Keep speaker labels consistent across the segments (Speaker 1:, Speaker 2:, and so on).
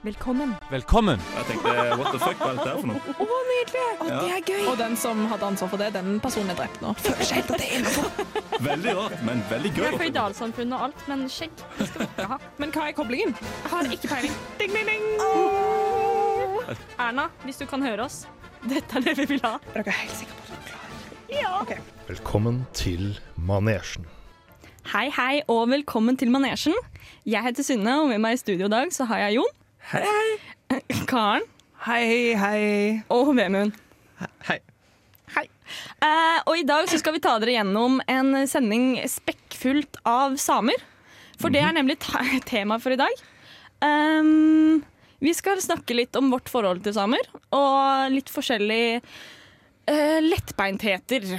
Speaker 1: Velkommen.
Speaker 2: Velkommen!
Speaker 3: Jeg tenkte what the fuck, hva er dette her for noe?
Speaker 1: Å, nydelig!
Speaker 3: Ja.
Speaker 1: Det er gøy.
Speaker 4: Og den som hadde ansvar for det, den personen er drept nå.
Speaker 1: Føler seg helt at det er innenfor.
Speaker 3: Veldig rart, men veldig
Speaker 5: Det er
Speaker 3: gøy.
Speaker 5: føydalsamfunn og alt, men skjegg det skal vi ikke ha.
Speaker 4: Men hva er koblingen?
Speaker 5: Har ikke peiling. Ding, ding, ding. Erna, hvis du kan høre oss, dette er det vi vil ha.
Speaker 4: Dere er helt sikre på det.
Speaker 6: Velkommen til manesjen.
Speaker 5: Hei, hei, og velkommen til Manesjen. Jeg heter Synne, og med meg i studio i dag så har jeg Jon. Hei, hei. Karen.
Speaker 4: Hei, hei.
Speaker 5: Og Vemund.
Speaker 7: Hei.
Speaker 5: Hei. Eh, og i dag så skal vi ta dere gjennom en sending spekkfullt av samer. For det er nemlig ta- temaet for i dag. Ehm, vi skal snakke litt om vårt forhold til samer, og litt forskjellige eh, lettbeintheter,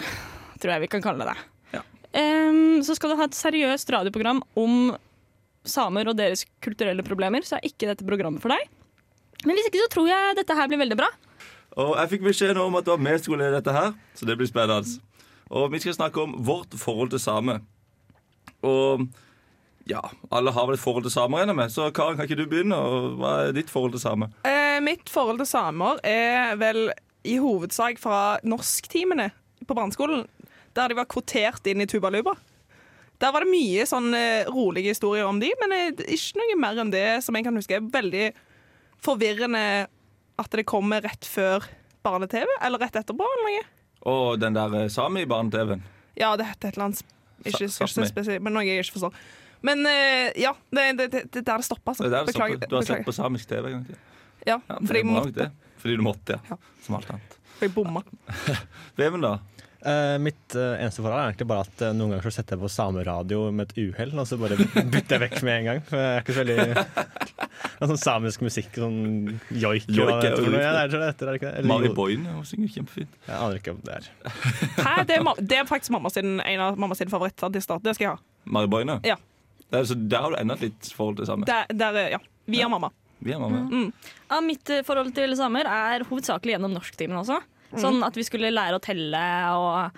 Speaker 5: tror jeg vi kan kalle det.
Speaker 3: Ja.
Speaker 5: Ehm, så skal du ha et seriøst radioprogram om samer og deres kulturelle problemer, så er ikke dette programmet for deg. Men hvis ikke så tror jeg dette her blir veldig bra.
Speaker 3: Og jeg fikk beskjed nå om at det var vi som skulle lede dette her, så det blir spennende. Og vi skal snakke om vårt forhold til same. Og ja, alle har vel et forhold til samer, regner jeg med. Så Karen, kan ikke du begynne? Og hva er ditt forhold til same?
Speaker 4: Eh, mitt forhold til samer er vel i hovedsak fra norsktimene på barneskolen, der de var kvotert inn i Tubaluba. Der var det mye sånn eh, rolige historier om de, men eh, det er ikke noe mer enn det som jeg kan huske. Det er Veldig forvirrende at det kommer rett før barne-TV, eller rett etterpå. eller noe.
Speaker 3: Og den der eh, same i barne-TV-en.
Speaker 4: Ja, det heter et eller annet sp- ikke,
Speaker 3: Sa-
Speaker 4: skal ikke si
Speaker 3: Sapmi.
Speaker 4: spesielt, men noe jeg ikke forstår. Men eh, ja, det er det, det, det er der det stopper. Altså.
Speaker 3: Det er der det står på- Du har
Speaker 4: beklager.
Speaker 3: sett på samisk TV? Kan ikke?
Speaker 4: Ja,
Speaker 3: Ja,
Speaker 4: fordi
Speaker 3: det
Speaker 4: jeg,
Speaker 3: må nok
Speaker 4: måtte,
Speaker 3: det. Fordi du måtte, ja.
Speaker 4: Ja.
Speaker 3: Som alt annet.
Speaker 4: fordi jeg bomma.
Speaker 3: Vemund, da?
Speaker 7: Eh, mitt eh, eneste forhold er egentlig bare at eh, noen ganger så setter jeg på sameradio med et uhell, og så bare bytter jeg vekk med en gang. For jeg er ikke så veldig Det er sånn samisk musikk, sånn joik og
Speaker 3: Joik er
Speaker 7: jeg tror
Speaker 3: jo
Speaker 7: noe- ja, det er- det er- det er ikke det. Eller
Speaker 3: Mari
Speaker 7: jo-
Speaker 3: Boine hun synger kjempefint.
Speaker 7: Jeg aner ikke om det er
Speaker 4: Hæ, det er, ma- det er faktisk mamma sin, en av mammas favorittartister. Det skal jeg ha.
Speaker 3: Mari Boine?
Speaker 4: Ja.
Speaker 3: Det er, så der har du enda et litt forhold til same.
Speaker 4: Der, der, er- ja. Via mamma.
Speaker 3: Vi er mamma.
Speaker 5: Ja, mitt eh, forhold til samer er hovedsakelig gjennom norsktimen også. Sånn at vi skulle lære å telle og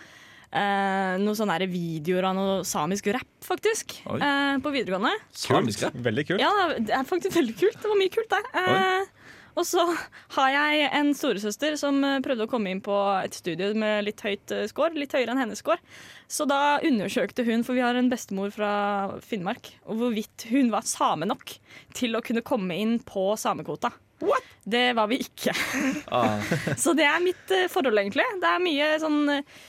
Speaker 5: eh, noen sånne her videoer av noe samisk rap, faktisk.
Speaker 3: Oi.
Speaker 5: Eh, på videregående.
Speaker 3: Samisk rap.
Speaker 7: Veldig kult.
Speaker 5: Ja, det er faktisk veldig kult. Det var mye kult, det. Eh, og så har jeg en storesøster som eh, prøvde å komme inn på et studio med litt høyt eh, score. Litt høyere enn hennes score. Så da undersøkte hun, for vi har en bestemor fra Finnmark, og hvorvidt hun var same nok til å kunne komme inn på samekvota. Det var vi ikke.
Speaker 3: Ah.
Speaker 5: Så det er mitt eh, forhold, egentlig. Det er mye sånn eh,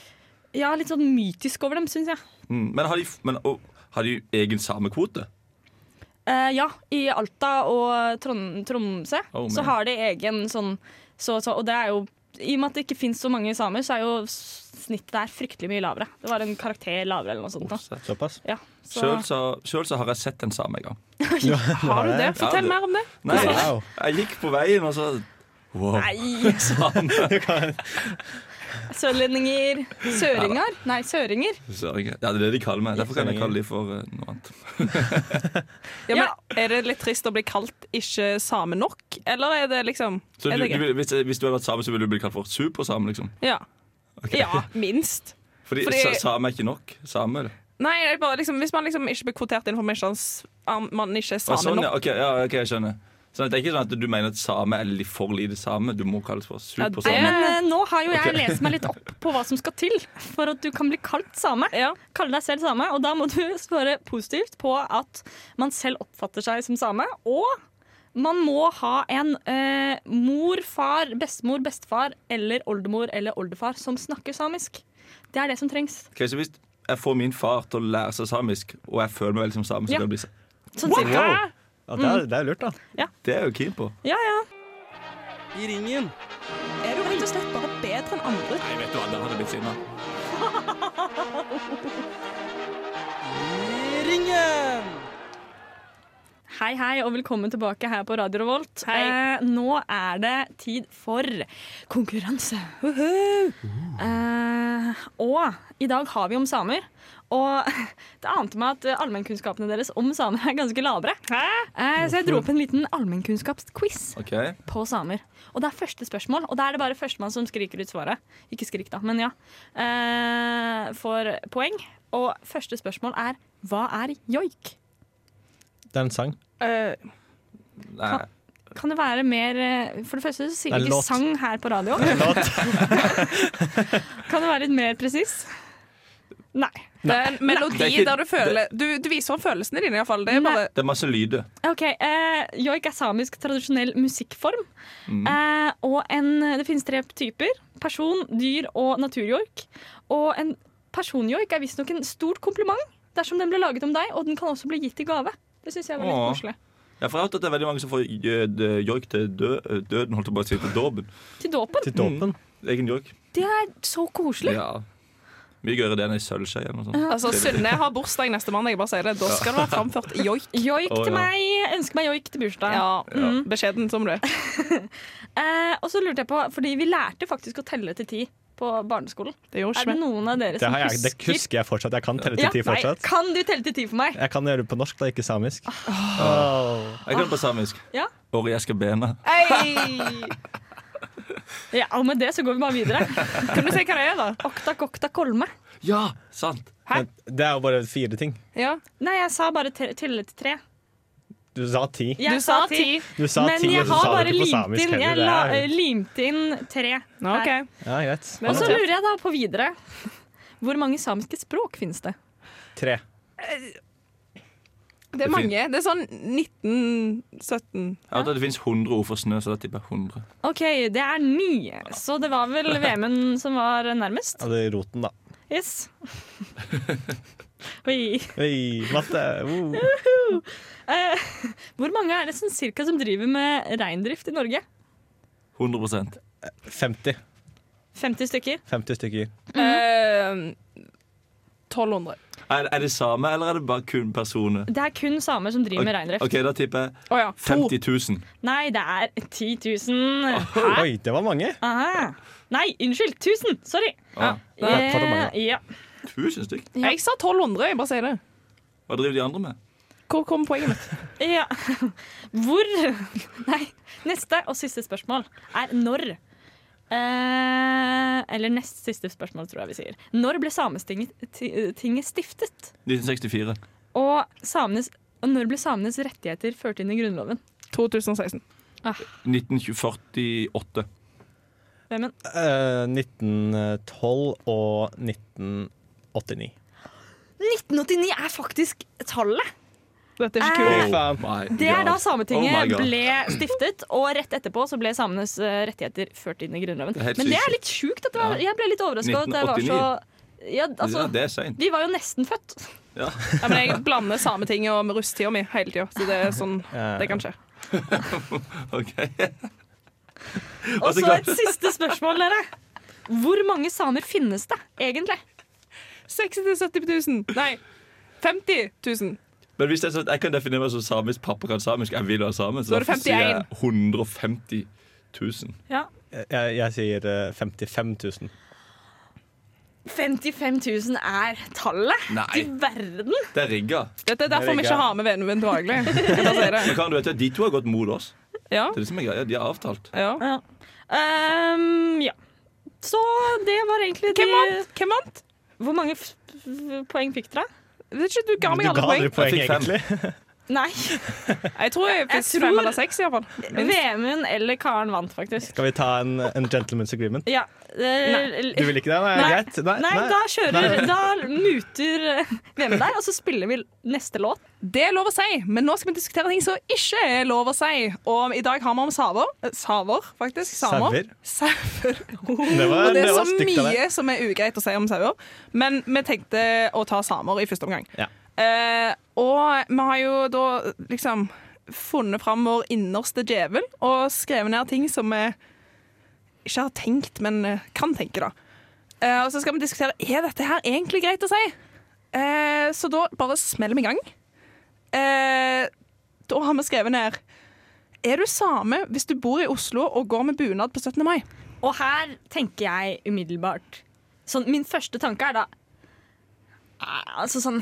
Speaker 5: Ja, litt sånn mytisk over dem, syns jeg.
Speaker 3: Mm, Men har de, men, og, har de egen samekvote?
Speaker 5: Eh, ja, i Alta og Trond Tromsø
Speaker 3: Oh,
Speaker 5: så
Speaker 3: man.
Speaker 5: har de egen sånn så, så, Og det er jo I og med at det ikke fins så mange samer, så er jo s- snittet der fryktelig mye lavere. Det var en karakter lavere eller noe sånt. Da.
Speaker 7: Såpass.
Speaker 5: Ja, så,
Speaker 3: Sjøl så, selv så har jeg sett en same en gang.
Speaker 4: Har du det?
Speaker 3: Ja,
Speaker 4: Fortell
Speaker 3: det-
Speaker 4: mer om det.
Speaker 3: Nei,
Speaker 7: Wow.
Speaker 3: Jeg gikk på veien, og så Wow.
Speaker 5: Nei! Sørlendinger. Søringer? Nei, søringer.
Speaker 3: Søringer. Ja, det er det de kaller meg. Derfor kan jeg kalle de for eh, noe annet.
Speaker 4: Ja, men, Er det litt trist å bli kalt ikke same nok, eller er det liksom
Speaker 3: Så
Speaker 4: er
Speaker 3: du,
Speaker 4: det
Speaker 3: du,
Speaker 4: greit?
Speaker 3: vil- hvis, hvis du hadde vært same, så ville du blitt kalt for supersame, liksom?
Speaker 4: ja. ja, minst.
Speaker 3: Fordi,
Speaker 4: Fordi-
Speaker 3: sa- same er ikke nok. Same. er det.
Speaker 4: Nei, jeg bare, liksom, hvis man liksom ikke blir kvotert inn for mens man ikke
Speaker 3: Å,
Speaker 4: er same
Speaker 3: sånn, ja.
Speaker 4: nok.
Speaker 3: ok, ja, ok, jeg skjønner. Sånn at det er ikke sånn at du mener at same er li- for lite same. Du må kalles for
Speaker 5: Nei,
Speaker 3: supersame.
Speaker 5: men eh, nå har jo jeg lest meg litt opp på hva som skal til for at du kan bli kalt same.
Speaker 4: Ja.
Speaker 5: Kalle deg selv same, og da må du svare positivt på at man selv oppfatter seg som same, og man må ha en eh, mor, far, bestemor, bestefar eller oldemor eller oldefar som snakker samisk. Det er det som trengs.
Speaker 3: Ok, så hvis jeg får min far til å lære seg samisk, og jeg føler meg veldig som same, så
Speaker 5: Ja.
Speaker 3: kan jeg bli sa-
Speaker 5: Sånn cirka.
Speaker 7: Wow. Ja, det,
Speaker 5: Mm.
Speaker 7: er, det er lurt, da.
Speaker 3: Det er jeg jo keen på.
Speaker 5: Ja, ja.
Speaker 4: Er du rett og slett bare bedre enn andre?
Speaker 3: Nei, vet du hva, der hadde jeg blitt sinna.
Speaker 5: Hei, hei, og velkommen tilbake her på Radio Revolt. Eh, nå er det tid for konkurranse. Eh, og i dag har vi om samer. Og det ante meg at eh, allmennkunnskapene deres om samer er ganske labre. Eh, så jeg dro opp en liten allmennkunnskapsquiz
Speaker 3: Ok,
Speaker 5: på samer. Og det er første spørsmål, og da er det bare førstemann som skriker ut svaret. Ikke skrik, da, men ja. Eh, får poeng. Og første spørsmål er hva er joik?
Speaker 7: Det er en sang.
Speaker 4: Eh,
Speaker 3: Nei,
Speaker 5: kan det være mer eh, For det første så sier
Speaker 7: Det er
Speaker 5: vi
Speaker 7: låt.
Speaker 5: ikke sang her på radio. kan det være litt mer presis? Nei.
Speaker 4: Det er en melodi
Speaker 3: Det er ikke-
Speaker 4: der du føler Du, du viser fram følelsene dine, iallfall. Det er
Speaker 5: Nei.
Speaker 4: bare
Speaker 3: Det er masse lyder.
Speaker 5: Ok, eh, Joik er samisk tradisjonell musikkform.
Speaker 3: Mm.
Speaker 5: Eh, og en, det finnes tre typer. Person, dyr og naturjoik. Og en personjoik er visstnok en stort kompliment dersom den ble laget om deg, og den kan også bli gitt i gave. Det syns jeg var litt
Speaker 3: Åh.
Speaker 5: koselig.
Speaker 3: Jeg har hørt at det er veldig mange som får jø- d- joik til dø, eh, døden, holdt jeg på å si, til dåpen.
Speaker 5: Til dåpen.
Speaker 7: Til dåpen.
Speaker 5: Mm.
Speaker 3: Egen joik.
Speaker 5: Det er så koselig.
Speaker 3: Ja. Mye gøyere det enn ei sølvskje eller noe
Speaker 5: Ah.
Speaker 3: sånt.
Speaker 4: Altså, Synne har bursdag neste mandag. Jeg bare sier det. Da skal det være framført joik.
Speaker 5: Joik
Speaker 3: Åh,
Speaker 5: til
Speaker 3: ja.
Speaker 5: meg. Ønsker meg joik til bursdag.
Speaker 4: Ja, mm, Beskjeden som du er.
Speaker 5: Eh, og så lurte jeg på, fordi vi lærte faktisk å telle til ti på barneskolen.
Speaker 4: Det gjorde
Speaker 5: Er det
Speaker 4: ikke vi.
Speaker 5: noen av dere
Speaker 7: Det,
Speaker 5: som
Speaker 7: har jeg, det
Speaker 5: husker?
Speaker 7: husker jeg fortsatt. Jeg kan telle
Speaker 5: Ja,
Speaker 7: til ti
Speaker 5: nei,
Speaker 7: fortsatt.
Speaker 5: Kan du telle til ti for meg?
Speaker 7: Jeg kan gjøre det på norsk, da, ikke samisk.
Speaker 3: Jeg kan det på samisk.
Speaker 5: Ja.
Speaker 3: Ori esker bena.
Speaker 5: Ja, og med det så går vi bare videre.
Speaker 4: Kan du si hva det er, da?
Speaker 5: Okta kokta kolme.
Speaker 3: Ja, sant!
Speaker 4: Hæ?
Speaker 7: Men Det er jo bare fire ting.
Speaker 4: Ja.
Speaker 5: Nei, jeg sa bare te- telle til tre.
Speaker 7: Du sa ti.
Speaker 5: Jeg
Speaker 4: Du sa ti.
Speaker 7: Du sa
Speaker 5: men
Speaker 7: ti,
Speaker 5: jeg
Speaker 7: og så
Speaker 5: har
Speaker 7: sa du
Speaker 5: bare
Speaker 7: ikke på
Speaker 5: limt
Speaker 7: samisk
Speaker 5: inn, jeg
Speaker 7: heller.
Speaker 5: la,
Speaker 7: Det er-
Speaker 5: limt inn tre.
Speaker 4: Nå,
Speaker 5: her.
Speaker 4: OK.
Speaker 7: Ja, greit.
Speaker 4: Men-
Speaker 5: Og så lurer jeg da på videre. Hvor mange samiske språk finnes det?
Speaker 7: Tre.
Speaker 4: Det er mange. Det er sånn 1917.
Speaker 3: Jeg har hørt at det fins 100 ord for snø, så da tipper jeg 100.
Speaker 5: OK, det er ni. Så det var vel Vemund som var nærmest.
Speaker 7: Ja, det er roten, da.
Speaker 5: Yes. Oi.
Speaker 7: Oi, matte. Uh.
Speaker 5: Eh, hvor mange er det sånn cirka som driver med reindrift i Norge?
Speaker 3: 100
Speaker 7: 50.
Speaker 5: 50 stykker?
Speaker 7: 50 stykker.
Speaker 4: Mhm. Eh, 1200.
Speaker 3: er, er det same, eller er det bare kun personer?
Speaker 5: Det er kun samer som driver med reindrift.
Speaker 3: OK, da tipper jeg
Speaker 4: Å ja. To.
Speaker 3: 50 000.
Speaker 5: Nei, det er 10 000.
Speaker 7: Oi, det var mange.
Speaker 5: Aha. Nei, unnskyld. 1000. Sorry.
Speaker 3: Ah,
Speaker 7: for det var
Speaker 5: Eh, ja.
Speaker 3: 1000 stykk?
Speaker 4: Jeg sa 1200, jeg bare sier det.
Speaker 3: Hva driver de andre med?
Speaker 4: Hvor kom poenget mitt?
Speaker 5: ja. Hvor Nei. Neste og siste spørsmål er når. Eh, eller nest siste spørsmål, tror jeg vi sier. Når ble Samestinget ti- tinget stiftet?
Speaker 3: 1964.
Speaker 5: Og, samenes, og når ble samenes rettigheter ført inn i Grunnloven?
Speaker 4: 2016.
Speaker 3: 1948.
Speaker 5: Hvem en?
Speaker 7: Eh, 1912 og 1989.
Speaker 5: 1989 er faktisk tallet!
Speaker 4: Dette er
Speaker 5: Eh,
Speaker 4: ikke kult.
Speaker 3: Oh
Speaker 7: faen.
Speaker 3: my
Speaker 5: Det er da
Speaker 3: God. Oh my
Speaker 5: Sametinget
Speaker 3: God.
Speaker 5: ble stiftet, og rett etterpå så ble samenes eh, rettigheter ført inn i Grunnloven.
Speaker 3: Det er helt
Speaker 5: Men det
Speaker 3: sykt.
Speaker 5: er litt sjukt. At det var,
Speaker 3: Ja.
Speaker 5: jeg ble litt overraska at det var så ja, altså,
Speaker 3: ja, det er seint.
Speaker 5: Vi var jo nesten født.
Speaker 3: Ja.
Speaker 4: Ja, men jeg blander Sametinget og med rusttida mi hele tida, så det er sånn det kan skje.
Speaker 3: OK.
Speaker 5: Og
Speaker 3: så
Speaker 5: så
Speaker 3: klart.
Speaker 5: et siste spørsmål, dere. Hvor mange samer finnes det egentlig?
Speaker 4: 60 000-70 000. Nei, 50 000.
Speaker 3: Men hvis det er sånn at jeg kan definere meg som samisk, pappa kan samisk, jeg vil være same,
Speaker 4: Da
Speaker 3: så
Speaker 4: er det
Speaker 3: derfor sier jeg 150 000.
Speaker 5: Ja.
Speaker 7: Jeg, jeg sier eh, 55 000.
Speaker 5: 55 000 er tallet.
Speaker 3: Nei.
Speaker 5: I verden!
Speaker 3: Det er rigga.
Speaker 4: Dette er derfor vi ikke har med Vemund Daglig. Jeg bare sier det.
Speaker 3: Men kan du vite at de to har gått mot oss?
Speaker 4: Ja,
Speaker 3: Det er det som er greia. De har avtalt.
Speaker 4: ja.
Speaker 5: Ja. Ehm, ja. Så det var egentlig
Speaker 4: Hvem
Speaker 5: de
Speaker 4: vant? Hvem vant?
Speaker 5: Hvor mange f f- poeng fikk dere?
Speaker 4: Vet ikke, du ga
Speaker 7: Du
Speaker 4: meg alle
Speaker 7: ga
Speaker 4: poeng.
Speaker 7: aldri poeng,
Speaker 3: Jeg fikk fem.
Speaker 7: egentlig.
Speaker 5: Nei.
Speaker 4: Jeg tror jeg fikk
Speaker 5: tror-
Speaker 4: fem eller seks, iallfall.
Speaker 5: Vemund eller Karen vant, faktisk.
Speaker 7: Skal vi ta en, en gentleman's agreement?
Speaker 5: Ja. Nei.
Speaker 7: Du vil ikke det? Nei,
Speaker 5: Nei.
Speaker 7: greit. Nei,
Speaker 5: Nei,
Speaker 7: nei.
Speaker 5: da kjører
Speaker 7: Nei.
Speaker 5: Da muter Vemund der, og så spiller vi neste låt.
Speaker 4: Det er lov å si, men nå skal vi diskutere ting som ikke er lov å si. Og i dag har vi om saver. eh, Saver, faktisk. Samer.
Speaker 7: Sauer.
Speaker 4: Sauer.
Speaker 7: Det
Speaker 4: Og
Speaker 7: var,
Speaker 4: det
Speaker 7: det
Speaker 4: er
Speaker 7: var
Speaker 4: så
Speaker 7: stygt av deg.
Speaker 4: mye som er ugreit å si om sauer. Men vi tenkte å ta samer i første omgang.
Speaker 7: Ja.
Speaker 4: Eh, og vi har jo da liksom funnet fram vår innerste djevel og skrevet ned ting som vi ikke har tenkt, men eh, kan tenke, da. Eh, og så skal vi diskutere er dette her egentlig greit å si. Eh, så da bare smeller vi i gang. Eh, da har vi skrevet ned Er du same hvis du bor i Oslo og går med bunad på 17. mai?
Speaker 5: Og her tenker jeg umiddelbart sånn, Min første tanke er da eh, Altså sånn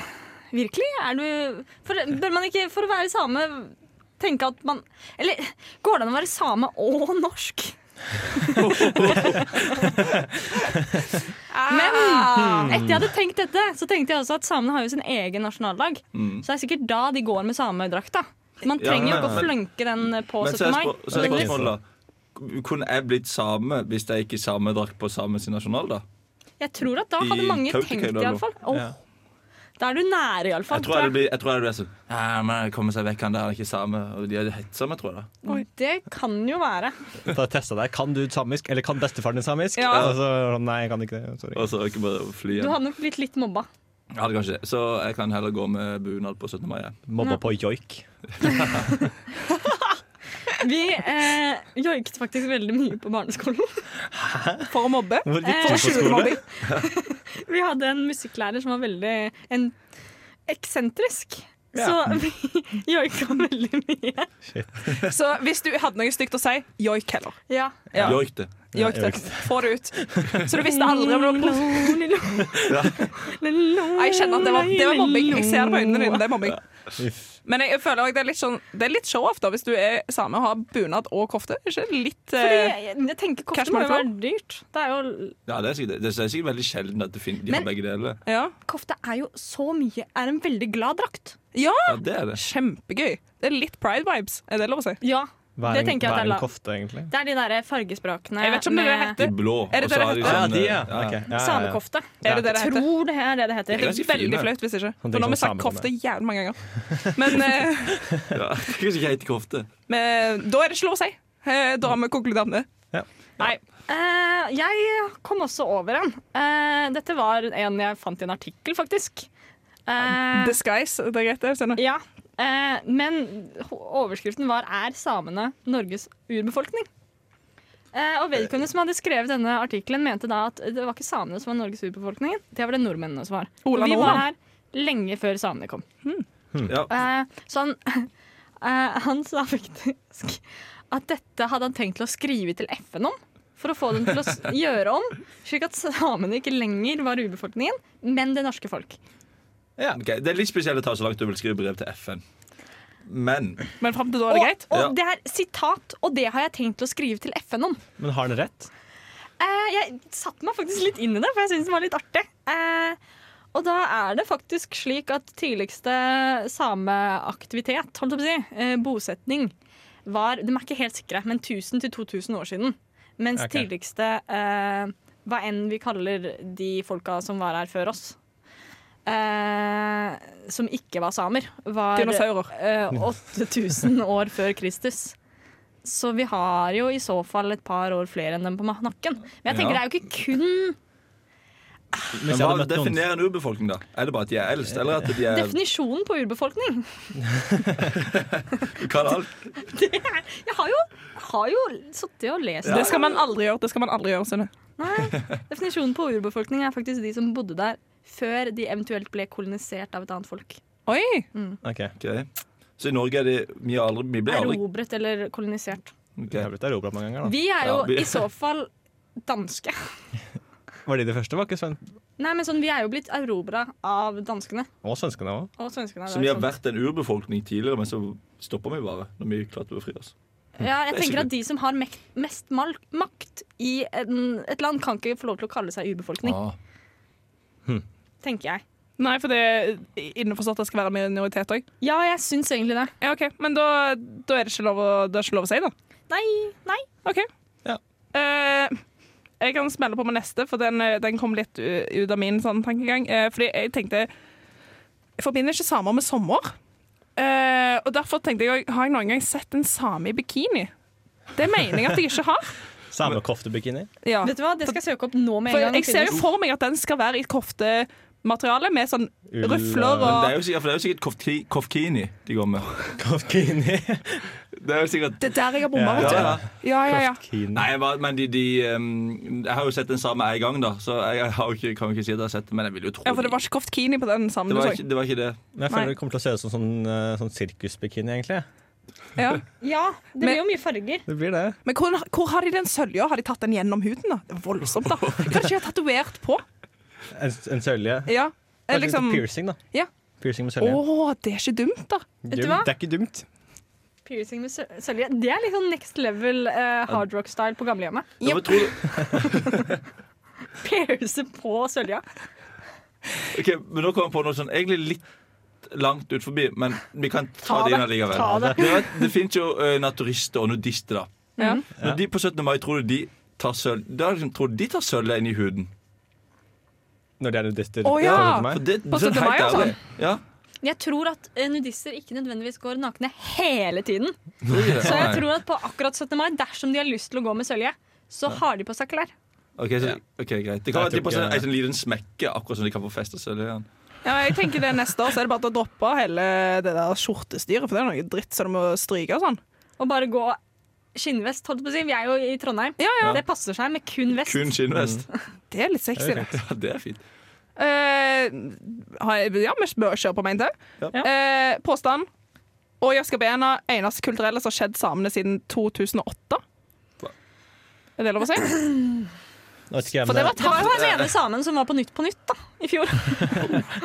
Speaker 5: Virkelig? Er du for, Bør man ikke for å være same tenke at man Eller går det an å være same og norsk?
Speaker 3: Ah.
Speaker 5: Men etter jeg hadde tenkt dette, så tenkte jeg også at samene har jo sin egen nasjonaldag. Så det er sikkert da de går med samedrakta. Man
Speaker 3: Mm. Ja,
Speaker 5: trenger jo
Speaker 3: nei,
Speaker 5: ikke å
Speaker 3: nei.
Speaker 5: flønke den på
Speaker 3: Men så
Speaker 5: 17.
Speaker 3: er,
Speaker 5: mai.
Speaker 3: spør så er
Speaker 7: Eller-
Speaker 3: spørsmålet da Kunne jeg blitt same hvis jeg gikk i samedrakt på same sin nasjonaldag?
Speaker 5: Jeg tror at da
Speaker 3: I
Speaker 5: hadde mange
Speaker 3: Kautokeino
Speaker 5: tenkt det,
Speaker 3: eller noe.
Speaker 5: iallfall. Oh,
Speaker 7: Ja.
Speaker 5: Da er du nære, iallfall.
Speaker 3: Jeg tror jeg hadde blitt, jeg tror jeg hadde blitt sånn Ja, men jeg kommer seg vekk, han der han er ikke same. Og de hadde hetsa meg, tror jeg. da.
Speaker 5: Det kan jo være.
Speaker 7: Da testa deg. Kan du samisk, eller kan bestefaren din samisk?
Speaker 5: Ja.
Speaker 7: Og så, nei, jeg kan ikke det. Sorry.
Speaker 3: Og så ikke bare
Speaker 5: Du
Speaker 3: fly igjen.
Speaker 5: hadde nok blitt litt mobba.
Speaker 3: Jeg hadde kanskje det. Så jeg kan heller gå med bunad på 17. mai. jeg.
Speaker 7: Mobba på joik.
Speaker 5: Vi eh, joiket faktisk veldig mye på barneskolen.
Speaker 4: For å mobbe?
Speaker 7: Hvor
Speaker 5: Eh,
Speaker 7: gikk du på
Speaker 4: skjule
Speaker 7: skole?
Speaker 4: mobbing.
Speaker 5: Vi hadde en musikklærer som var veldig en, eksentrisk. Så vi joika veldig mye.
Speaker 4: Så hvis du hadde noe stygt å si, joik heller.
Speaker 5: Ja.
Speaker 4: Ja.
Speaker 3: Joik det.
Speaker 4: Joik
Speaker 7: Ja,
Speaker 4: det.
Speaker 7: joik
Speaker 4: Få det ut. Så du visste aldri om du Nei, Jeg kjenner at det var, det var mobbing. Jeg ser det på øynene dine. det er mobbing
Speaker 7: Uff.
Speaker 4: Men jeg føler også det er litt sånn Det er litt show-off da hvis du er same og har bunad og kofte. Er Ikke det litt
Speaker 5: Fordi
Speaker 4: eh,
Speaker 5: jeg, jeg tenker
Speaker 4: Cash
Speaker 5: kofte må jo
Speaker 4: Money
Speaker 5: være dyrt. Det er jo,
Speaker 3: Ja, det er sikkert, det er sikkert veldig sjelden at det fin- de har
Speaker 5: Men-
Speaker 3: begge deler.
Speaker 4: ja.
Speaker 5: kofte er jo så mye Er en veldig glad drakt.
Speaker 4: ja,
Speaker 3: Ja, det er det.
Speaker 4: kjempegøy. Det er litt pride vibes. Er det lov å si?
Speaker 5: Ja.
Speaker 7: Hva
Speaker 5: Det
Speaker 7: er en,
Speaker 5: tenker jeg
Speaker 7: hva
Speaker 5: at det
Speaker 7: er
Speaker 5: er
Speaker 7: en
Speaker 5: la-
Speaker 7: kofte, egentlig?
Speaker 5: Det er de derre fargesprakene
Speaker 4: Jeg vet ikke om det er det
Speaker 5: med
Speaker 4: det-
Speaker 3: De blå.
Speaker 4: Er det
Speaker 3: og så
Speaker 4: det
Speaker 3: har de
Speaker 4: det
Speaker 3: sånn
Speaker 7: Ja, de,
Speaker 3: eh,
Speaker 7: ja.
Speaker 3: ja.
Speaker 7: Ok, ja, ja, ja.
Speaker 5: samekofte.
Speaker 4: Er det det det
Speaker 5: Jeg
Speaker 4: heter?
Speaker 5: tror det er det det
Speaker 3: Det er
Speaker 5: heter.
Speaker 3: ganske fine.
Speaker 4: Veldig flaut hvis ikke.
Speaker 7: tenker
Speaker 4: For nå har vi
Speaker 7: som
Speaker 4: sagt
Speaker 7: samer,
Speaker 4: kofte jævlig mange ganger. Men, eh,
Speaker 3: Ja, det er ikke helt kofte.
Speaker 4: men da er det ikke lov å si. Eh, Da har vi konkludert med det.
Speaker 5: Eh, jeg kom også over en. Eh, dette var en jeg fant i en artikkel, faktisk. Eh,
Speaker 4: Disguise. Det er greit, det. Synne.
Speaker 5: ja, eh, men ho- overskriften var 'Er samene Norges urbefolkning?' Eh, og vedkommende som hadde skrevet denne artikkelen, mente da at det var ikke samene som var Norges urbefolkning, det var det nordmennene som var.
Speaker 4: Ola
Speaker 5: Og vi var her
Speaker 4: Nordmann.
Speaker 5: lenge før samene kom.
Speaker 7: Hmm.
Speaker 3: Ja.
Speaker 5: Eh, så han, eh, han sa faktisk at dette hadde han tenkt til å skrive til FN om. For å få dem til å s- gjøre om, slik at samene ikke lenger var urbefolkningen, men det norske folk.
Speaker 3: Ok, Det er litt spesielt å ta så langt du vil skrive brev til FN. Men
Speaker 4: Men fram til da er
Speaker 5: Og,
Speaker 4: det greit.
Speaker 5: og
Speaker 3: Ja.
Speaker 5: det er sitat, og det har jeg tenkt til å skrive til FN om.
Speaker 7: Men har han rett?
Speaker 5: Eh, jeg satte meg faktisk litt inn i det, for jeg syntes det var litt artig. Eh, og da er det faktisk slik at tidligste sameaktivitet, holdt jeg på å si, eh, bosetning, var De er ikke helt sikre, men 1000 til 2000 år siden. Mens
Speaker 7: Ok.
Speaker 5: tidligste eh, hva enn vi kaller de folka som var her før oss, eh, som ikke var samer, var
Speaker 4: Dinosaurer.
Speaker 5: eh, 8000 år før Kristus. Så vi har jo i så fall et par år flere enn dem på nakken. Men jeg tenker
Speaker 3: Ja.
Speaker 5: det er jo ikke kun
Speaker 7: Hvis
Speaker 3: Men
Speaker 7: jeg
Speaker 3: Hva
Speaker 7: hadde møtt noen
Speaker 3: definerer en urbefolkning, da? Er det bare at de er eldst, eller at de er
Speaker 5: definisjonen på urbefolkning.
Speaker 3: kan alt?
Speaker 5: Jeg har jo, har jo sittet og lest
Speaker 4: Det skal man aldri gjøre. Det skal man aldri gjøre, Synne.
Speaker 5: Nei, definisjonen på urbefolkning er faktisk de som bodde der før de eventuelt ble kolonisert av et annet folk.
Speaker 4: Oi!
Speaker 7: Ok,
Speaker 3: Ok. Så i Norge er de Vi, er aldri, vi blir aldri
Speaker 5: Erobret eller kolonisert.
Speaker 3: ok.
Speaker 7: Jeg har blitt erobret mange ganger.
Speaker 5: Vi er jo
Speaker 3: Ja, vi-
Speaker 5: i så fall danske.
Speaker 7: da Var de de første? Var ikke sven
Speaker 5: Nei, men sånn, vi er jo blitt erobra av danskene
Speaker 7: Og svenskene òg.
Speaker 5: og svenskene. sånn.
Speaker 3: Så vi har vært en urbefolkning tidligere, men så stopper vi bare når vi klarte å befri oss.
Speaker 5: Ja, jeg
Speaker 3: Det er
Speaker 5: tenker
Speaker 3: sikkert.
Speaker 5: at De som har mek mest mal- makt i en, et land, kan ikke få lov til å kalle seg urbefolkning.
Speaker 3: Ah. Hm.
Speaker 5: tenker jeg.
Speaker 4: Nei, for det er innforstått at det skal være minoritet òg.
Speaker 5: Ja, jeg syns egentlig det.
Speaker 4: Ja, OK. Men da, da er det ikke lov å, det er ikke lov å si, da.
Speaker 5: Nei, nei.
Speaker 4: OK.
Speaker 7: Ja.
Speaker 4: Eh, jeg kan smelle på med neste, for den, eh, den kom litt u- ut av min sånn tankegang. Eh, fordi jeg tenkte Jeg forbinder ikke samer med sommer. Eh, og derfor tenkte jeg Har jeg noen gang sett en same i bikini? Det mener jeg at jeg ikke har.
Speaker 7: Samekoftebikini.
Speaker 4: Ja.
Speaker 5: Vet du hva, Det skal Ah. jeg søke opp nå med
Speaker 4: For
Speaker 5: en gang.
Speaker 4: jeg ser jo
Speaker 5: Finnes.
Speaker 4: for meg at den skal være i koftemateriale med sånn
Speaker 7: Ull,
Speaker 4: røfler
Speaker 7: eh,
Speaker 3: Men
Speaker 4: og
Speaker 3: det er jo sikkert, for det er jo sikkert kofki, kofkini de går med.
Speaker 7: Koftbikini.
Speaker 3: Det er jo sikkert
Speaker 4: Det er der jeg har bomma,
Speaker 7: Ja,
Speaker 4: vet
Speaker 3: ja.
Speaker 4: du. Ja, ja, ja.
Speaker 3: Nei, jeg bare- men de, de ehm, Jeg har jo sett den samme en gang, da, så jeg har jo ikke, kan jo ikke si at jeg har sett den, men jeg vil jo tro
Speaker 4: ja, for det var ikke koftkini på den samme
Speaker 3: det
Speaker 4: du
Speaker 3: var
Speaker 4: så.
Speaker 3: ikke det. Var ikke det.
Speaker 7: Men jeg
Speaker 4: Nei.
Speaker 7: føler det kommer til å se ut som sånn, eh, sånn sirkusbikini, egentlig.
Speaker 4: Ja.
Speaker 5: Ja, det
Speaker 4: Men-
Speaker 5: blir jo mye farger.
Speaker 7: Det blir det.
Speaker 4: Men hvor, hvor har de den sølja? Har de tatt den gjennom huden? da? Det er voldsomt, da. Kanskje de har tatovert på?
Speaker 7: En, en sølje.
Speaker 5: Eh,
Speaker 4: Ja.
Speaker 7: Kanskje
Speaker 4: Eller liksom
Speaker 7: litt Piercing, da.
Speaker 4: Ja.
Speaker 7: Piercing med
Speaker 4: Å,
Speaker 7: sølje.
Speaker 4: det er ikke dumt, da.
Speaker 5: vet du hva?
Speaker 7: Det er ikke dumt.
Speaker 5: Piercing med sø- sølje. Det er litt sånn next level eh, hard rock-style på gamlehjemmet.
Speaker 3: Ja, men tror du,
Speaker 5: Pierce på sølja.
Speaker 3: ok, men nå kom jeg på noe sånn egentlig litt litt langt ut forbi, men vi kan
Speaker 5: Ta
Speaker 3: ta, det inn
Speaker 5: det,
Speaker 3: allikevel.
Speaker 5: ta det.
Speaker 3: Det, det finnes jo eh, naturister og nudister, da.
Speaker 5: Ja.
Speaker 3: Når de på 17. mai tror du de tar sølv Da liksom, tror du de tar sølvet inn i huden.
Speaker 7: Når de er nudister.
Speaker 4: Å, ja!
Speaker 7: tar du til meg?
Speaker 3: For det,
Speaker 4: På
Speaker 3: sånn
Speaker 4: 17.
Speaker 3: helt
Speaker 4: mai, altså?
Speaker 3: ærlig. Ja.
Speaker 5: Jeg tror at eh, nudister ikke nødvendigvis går nakne hele tiden.
Speaker 3: Så
Speaker 5: Så jeg tror at på akkurat 17. mai, dersom de har lyst til å gå med sølje, så har de på seg klær.
Speaker 3: Ok, så, ok, greit. Det kan være
Speaker 7: Jeg
Speaker 3: de
Speaker 7: tror
Speaker 3: på
Speaker 7: ikke-
Speaker 3: sånn, en sånn liten smekke, akkurat som de kan få festa sølvet igjen.
Speaker 4: Ja, jeg tenker det Neste år så er det bare til å droppe hele det der skjortestyret, for det er noe dritt som du må stryke og sånn.
Speaker 5: Og bare gå skinnvest, holdt jeg på å si. Vi er jo i Trondheim.
Speaker 3: ja.
Speaker 5: Det passer seg med kun vest.
Speaker 3: Kun skinnvest.
Speaker 7: Mm.
Speaker 4: Det er litt sexy, det.
Speaker 3: Ja, det er fint.
Speaker 4: Eh, har jeg, ja, vi bør kjøre på med en til.
Speaker 3: Ja.
Speaker 4: Eh, påstand. Og Jaskabena, eneste kulturelle som har skjedd samene siden 2008.
Speaker 3: Hva?
Speaker 4: Er det lov å si?
Speaker 7: Nå vet ikke jeg,
Speaker 4: For det var
Speaker 7: men-
Speaker 5: Det var jo
Speaker 4: tøft.
Speaker 5: den ene samen som var på Nytt på Nytt da, i fjor.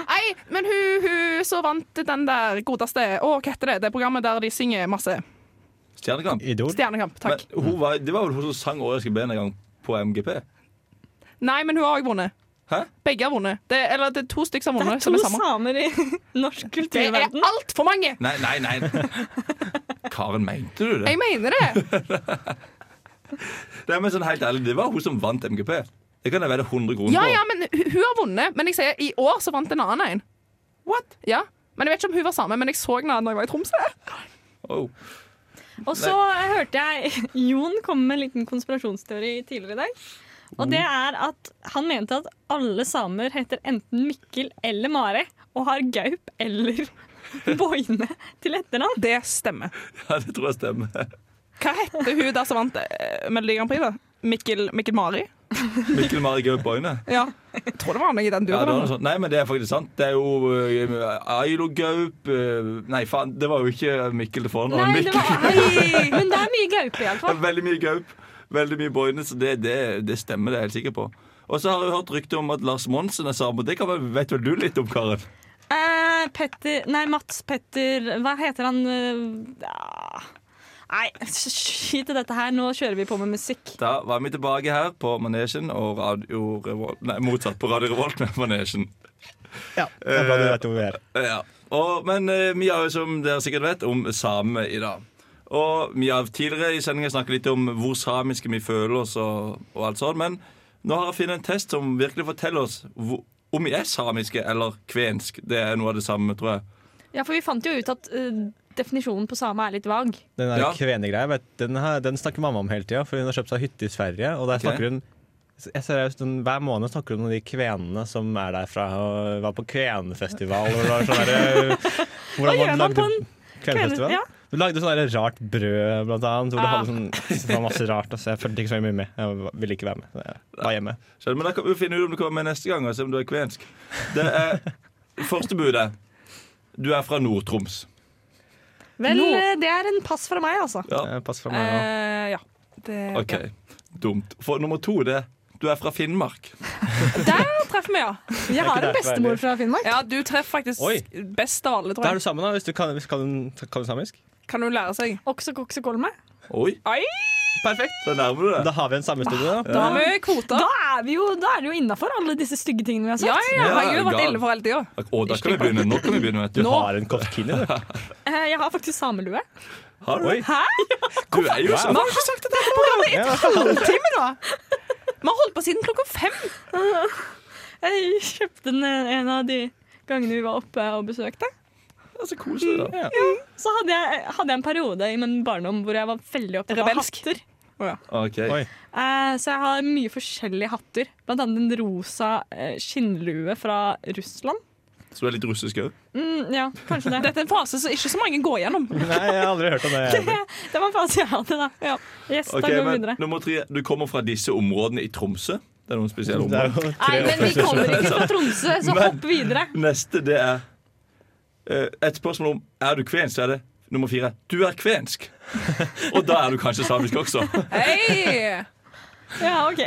Speaker 4: Nei, men hun, hun som vant den der godeste Å, hva heter det? Det programmet der de synger masse.
Speaker 3: Stjernekamp.
Speaker 7: Idol.
Speaker 4: Stjernekamp. Takk.
Speaker 3: Men hun var, det var vel hun som sang Årets ben en gang på MGP?
Speaker 4: Nei, men hun har òg vunnet.
Speaker 3: Hæ?
Speaker 4: Begge har vunnet. Det, eller det er to stykker som har
Speaker 5: Det er
Speaker 4: vunnet.
Speaker 5: to
Speaker 4: Som er
Speaker 5: samer
Speaker 4: sammen.
Speaker 5: i norsk
Speaker 4: Det er
Speaker 5: kulturverden.
Speaker 4: altfor mange!
Speaker 3: Nei, nei, nei. Karen, mente du det?
Speaker 4: Jeg mener det.
Speaker 3: Nei, men sånn helt ærlig, Det var hun som vant MGP. Det kan jeg vedde 100 kroner
Speaker 4: Ja,
Speaker 3: på.
Speaker 4: ja, men hu- hun har vunnet. Men jeg sier, i år så vant en annen en. What? Ja, men jeg vet ikke om hun var samme, men jeg så henne da jeg var i Tromsø.
Speaker 3: Oh.
Speaker 5: Og så hørte jeg Jon komme med en liten konspirasjonsteori tidligere i dag. Og det er at han mente at alle samer heter enten Mikkel eller Mari og har gaup eller boine til etternavn.
Speaker 4: Det stemmer.
Speaker 3: Ja, det tror jeg stemmer.
Speaker 4: Hva heter hun der som vant eh, Melodi Grand Prix, da? Mikkel, Mikkel Mari?
Speaker 3: Mikkel Mari Gaup Boine.
Speaker 4: Ja. Jeg tror det var noe i den
Speaker 3: Ja, det
Speaker 4: duren.
Speaker 3: var noe sånt. nei, men det er faktisk sant. Det er jo eh, Ailo Gaup eh, Nei, faen, det var jo ikke Mikkel til fornavn.
Speaker 5: Nei, det
Speaker 3: Mikkel.
Speaker 5: var Ai! Men det er mye gaupe,
Speaker 3: Det
Speaker 5: iallfall.
Speaker 3: er Veldig mye Gaup, veldig mye Boine, så det, det, det stemmer, det er jeg helt sikker på. Og så har jeg hørt rykte om at Lars Monsen er same. Det kan vel, vet vel du litt om, Karen?
Speaker 5: Eh, Petter Nei, Mats Petter Hva heter han eh, ah. Nei, skit i dette her. Nå kjører vi på med musikk.
Speaker 3: Da var vi tilbake her på Manesjen og Radio Revolt Nei, motsatt. På Radio Revolt med Manesjen.
Speaker 7: Ja, det er bra du vet hvor vi er.
Speaker 3: Ja. Og, men eh, vi har jo, som dere sikkert vet, om same i dag. Og vi har tidligere i sendingen snakket litt om hvor samiske vi føler oss og, og alt sånt. Men nå har jeg funnet en test som virkelig forteller oss hvor, om vi er samiske eller kvensk. Det er noe av det samme, tror jeg.
Speaker 5: Ja, for vi fant jo ut at eh, definisjonen på same er litt vag.
Speaker 7: Den der
Speaker 3: Ja.
Speaker 7: kvenegreia, vet du, den, har- den snakker mamma om hele tida, for hun har kjøpt seg hytte i Sverige. Og
Speaker 3: Ok.
Speaker 7: der snakker hun jeg ser just, den, Hver måned snakker hun om de kvenene som er derfra. Og var på kvenefestival. Og det var sånn der,
Speaker 5: Hva
Speaker 7: hvordan
Speaker 5: gjør
Speaker 7: man
Speaker 5: man på
Speaker 7: lagde
Speaker 5: en
Speaker 7: kvenefestival?
Speaker 5: kvene- ja.
Speaker 7: Du lagde sånn der rart brød, blant annet. Hvor du
Speaker 5: Ah.
Speaker 7: hadde sånn, det var masse rart. Altså, jeg fulgte ikke så mye med. Jeg ville ikke være med. så Jeg var hjemme.
Speaker 3: Skjønner, men da kan vi finne ut om du kommer med neste gang, og se om du er kvensk. Det er første budet. Du er fra Nord-Troms.
Speaker 5: Vel,
Speaker 4: Nå-
Speaker 5: eh, det er en pass fra meg, altså.
Speaker 3: Ja.
Speaker 7: Eh, Pass for meg. nå.
Speaker 4: Eh, ja. Det,
Speaker 3: OK. Dumt. For nummer to det er du er fra Finnmark.
Speaker 4: Der treffer vi, ja.
Speaker 5: Jeg
Speaker 7: ikke
Speaker 5: har en
Speaker 7: derfor,
Speaker 5: bestemor
Speaker 7: eller?
Speaker 5: fra Finnmark.
Speaker 4: Ja, Du treffer faktisk
Speaker 7: Oi.
Speaker 4: best av alle,
Speaker 7: Da
Speaker 4: tror
Speaker 7: er
Speaker 4: jeg.
Speaker 7: du sammen, da. Hvis du kan, hvis du kan, kan du samisk?
Speaker 4: Kan du lære seg?
Speaker 5: Okse, kokse, kolme.
Speaker 3: Oi,
Speaker 4: Oi,
Speaker 7: Perfekt.
Speaker 3: da nærmer du deg.
Speaker 7: Da har vi en samestudie, da.
Speaker 4: da har vi kvoter.
Speaker 5: Da er, vi jo, da er det jo innafor alle disse stygge tingene vi har
Speaker 4: Ja,
Speaker 5: sagt.
Speaker 4: ja, ja.
Speaker 3: Ja,
Speaker 4: Herregud, vært
Speaker 3: gal.
Speaker 4: ille for hele tida.
Speaker 3: Å, da kan vi begynne. Nå kan vi begynne, vet
Speaker 7: Du
Speaker 3: du.
Speaker 4: Nå.
Speaker 7: har en kotkini, du.
Speaker 5: Eh, Jeg har faktisk samelue.
Speaker 3: Har du?
Speaker 7: Oi.
Speaker 5: Hæ?
Speaker 3: Du er jo
Speaker 7: Wow.
Speaker 3: sånn.
Speaker 4: har ikke sagt dette på programmet
Speaker 7: Ja.
Speaker 4: halvtime nå! Vi har holdt på siden klokka fem.
Speaker 5: Jeg kjøpte den eh, en av de gangene vi var oppe og besøkte.
Speaker 3: Det er så koselig, da.
Speaker 7: Ja.
Speaker 5: Så hadde jeg, hadde jeg en periode i min barndom hvor jeg var veldig opptatt av
Speaker 4: Rebelsk.
Speaker 5: hatter.
Speaker 3: OK.
Speaker 7: Oi.
Speaker 5: Eh, Så jeg har mye forskjellige hatter. Blant annet en rosa eh, skinnlue fra Russland.
Speaker 3: Så du er litt russisk òg?
Speaker 5: Mm, ja, kanskje det.
Speaker 4: Dette er en fase som ikke så mange går gjennom.
Speaker 7: Nei, jeg har aldri hørt om det. jeg heller.
Speaker 5: Det var en fase jeg hadde, da. Ja. Yes,
Speaker 3: Ok,
Speaker 5: da går vi
Speaker 3: men
Speaker 5: videre.
Speaker 3: nummer tre. Du kommer fra disse områdene i Tromsø. Det er noen spesielle
Speaker 7: Det er
Speaker 3: områder.
Speaker 7: jo tre
Speaker 5: Nei, men vi
Speaker 7: oppførsler.
Speaker 5: kommer ikke fra Tromsø, så
Speaker 3: Men-
Speaker 5: hopp videre.
Speaker 3: Neste det er eh, et spørsmål om er du kvensk, så er det nummer fire. Du er kvensk. Og da er du kanskje samisk også.
Speaker 4: Hei!
Speaker 5: Ja, ok.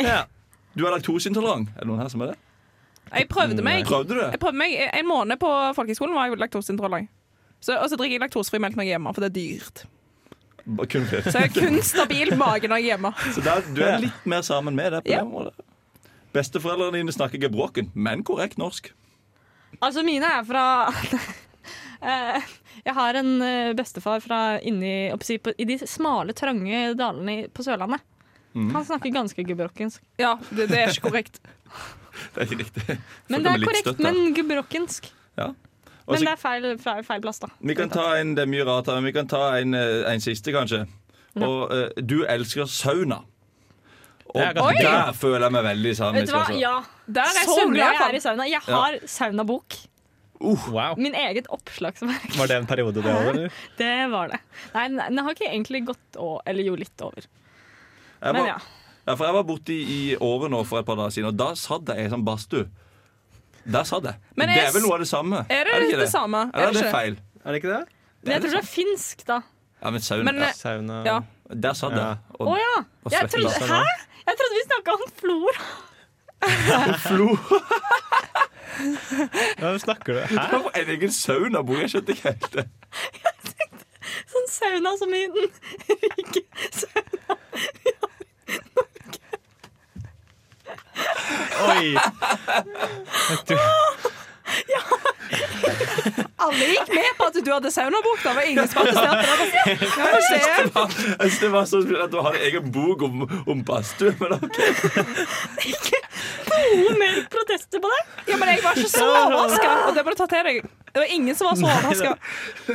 Speaker 3: Du er laktoseintolerant. Er det noen her som er det?
Speaker 4: Jeg prøvde meg.
Speaker 3: Prøvde du det?
Speaker 4: Jeg prøvde meg En måned på folkehøyskolen var jeg laktoseintolerant. Så, og så drikker jeg laktosefri melk når jeg er hjemme, for det er dyrt.
Speaker 3: Bare Kun kvensk.
Speaker 4: Så jeg har kun stabil mage når jeg er hjemme.
Speaker 3: Så der, du er litt mer sammen med det på
Speaker 4: Ja.
Speaker 3: det området. Besteforeldrene dine snakker gebrokken, men korrekt norsk.
Speaker 5: Altså, mine er fra Eh, Jeg har en eh, bestefar fra inni, opp- si, på, i de smale, trange dalene i- på Sørlandet.
Speaker 3: Mm.
Speaker 5: Han snakker ganske gubberokkensk.
Speaker 4: Ja, det, det er ikke korrekt.
Speaker 3: Det er ikke riktig.
Speaker 5: Men det
Speaker 3: Snakker med
Speaker 5: er
Speaker 3: litt
Speaker 5: korrekt,
Speaker 3: støtt, da.
Speaker 5: men gubberokkensk.
Speaker 3: Og
Speaker 5: Men
Speaker 3: så-
Speaker 5: det er feil, feil, feil plass, da.
Speaker 3: Vi kan ta en, det er mye rart her, men vi kan ta en, eh, en siste, kanskje. Og eh, du elsker sauna. Og
Speaker 7: Det er ganske
Speaker 3: der føler jeg meg veldig
Speaker 5: Vet du
Speaker 3: samisk.
Speaker 5: hva?
Speaker 3: Altså.
Speaker 5: Ja.
Speaker 4: Der er
Speaker 5: Så glad jeg Sånn, er i
Speaker 4: Sundlia.
Speaker 5: sauna. Jeg har saunabok.
Speaker 7: Wow.
Speaker 5: Min eget oppslagsverk.
Speaker 7: Var det en periode det over? eller?
Speaker 5: Det var det. Nei, nei, den har ikke egentlig gått over. Eller jo, litt over.
Speaker 3: Jeg
Speaker 5: Men
Speaker 3: var,
Speaker 5: ja.
Speaker 3: ja, for jeg var borte i i Åre nå for et par dager siden, og da satt jeg i en sånn badstue. Der satt jeg.
Speaker 4: Men
Speaker 3: det
Speaker 4: jeg
Speaker 3: er vel noe av det samme?
Speaker 4: Er det
Speaker 3: ikke
Speaker 4: det samme? Er
Speaker 3: Eller er
Speaker 4: det
Speaker 3: det
Speaker 4: ikke?
Speaker 3: feil?
Speaker 7: Er det ikke det?
Speaker 5: Men jeg tror det er finsk, da.
Speaker 3: Ja, men sauna
Speaker 4: Men,
Speaker 3: ja.
Speaker 4: eh,
Speaker 7: Sauna
Speaker 4: Ja.
Speaker 3: Der satt
Speaker 7: Ja.
Speaker 3: jeg.
Speaker 5: Å
Speaker 3: Og
Speaker 5: ja!
Speaker 3: og
Speaker 5: Jeg
Speaker 3: svetter.
Speaker 5: trodde, hæ? Jeg trodde vi snakka om flor.
Speaker 3: flo.
Speaker 7: Hva snakker du? Hæ?
Speaker 3: Hvorfor en egen sauna bor jeg skjønte ikke helt det.
Speaker 5: Sånn sauna som i den rike sauna.
Speaker 7: Oi! Du,
Speaker 4: Alle gikk med på at du hadde saunabok. Det var ingen som protesterte. Det var- Ja, det er-
Speaker 3: Jeg synes det var så spennende at du har en egen bok om, om badstue. Men ok,
Speaker 5: Noe mer protester på det?
Speaker 4: Ja, men jeg var ikke så overraska, og det må du ta til deg. Det var ingen som var så overraska.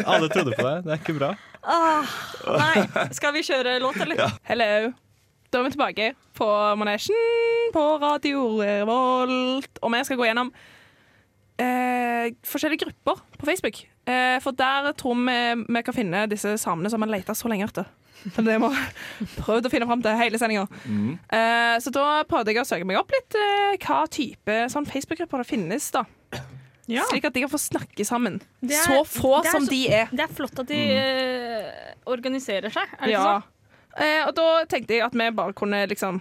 Speaker 7: alle trodde på deg. Det er ikke bra.
Speaker 5: Ah, nei. Skal vi kjøre låt, eller?
Speaker 4: Hello. Da er vi tilbake på manesjen på Radio Revolt, og vi skal gå gjennom eh, forskjellige grupper på Facebook. Eh, for der tror vi vi kan finne disse samene som har leita så lenge etter. Men det må prøvd å finne fram til hele sendinga. Eh, så da prøvde jeg å søke meg opp litt eh, hva type sånn Facebook-grupper det finnes, da.
Speaker 5: Ja.
Speaker 4: Slik at de kan få snakke sammen.
Speaker 5: Det er-
Speaker 4: så få
Speaker 5: det er
Speaker 4: som
Speaker 5: så-
Speaker 4: de er.
Speaker 5: Det er flott at de eh, organiserer seg, er det
Speaker 4: Ja.
Speaker 5: ikke sånn?
Speaker 4: Eh, og da tenkte jeg at vi bare kunne liksom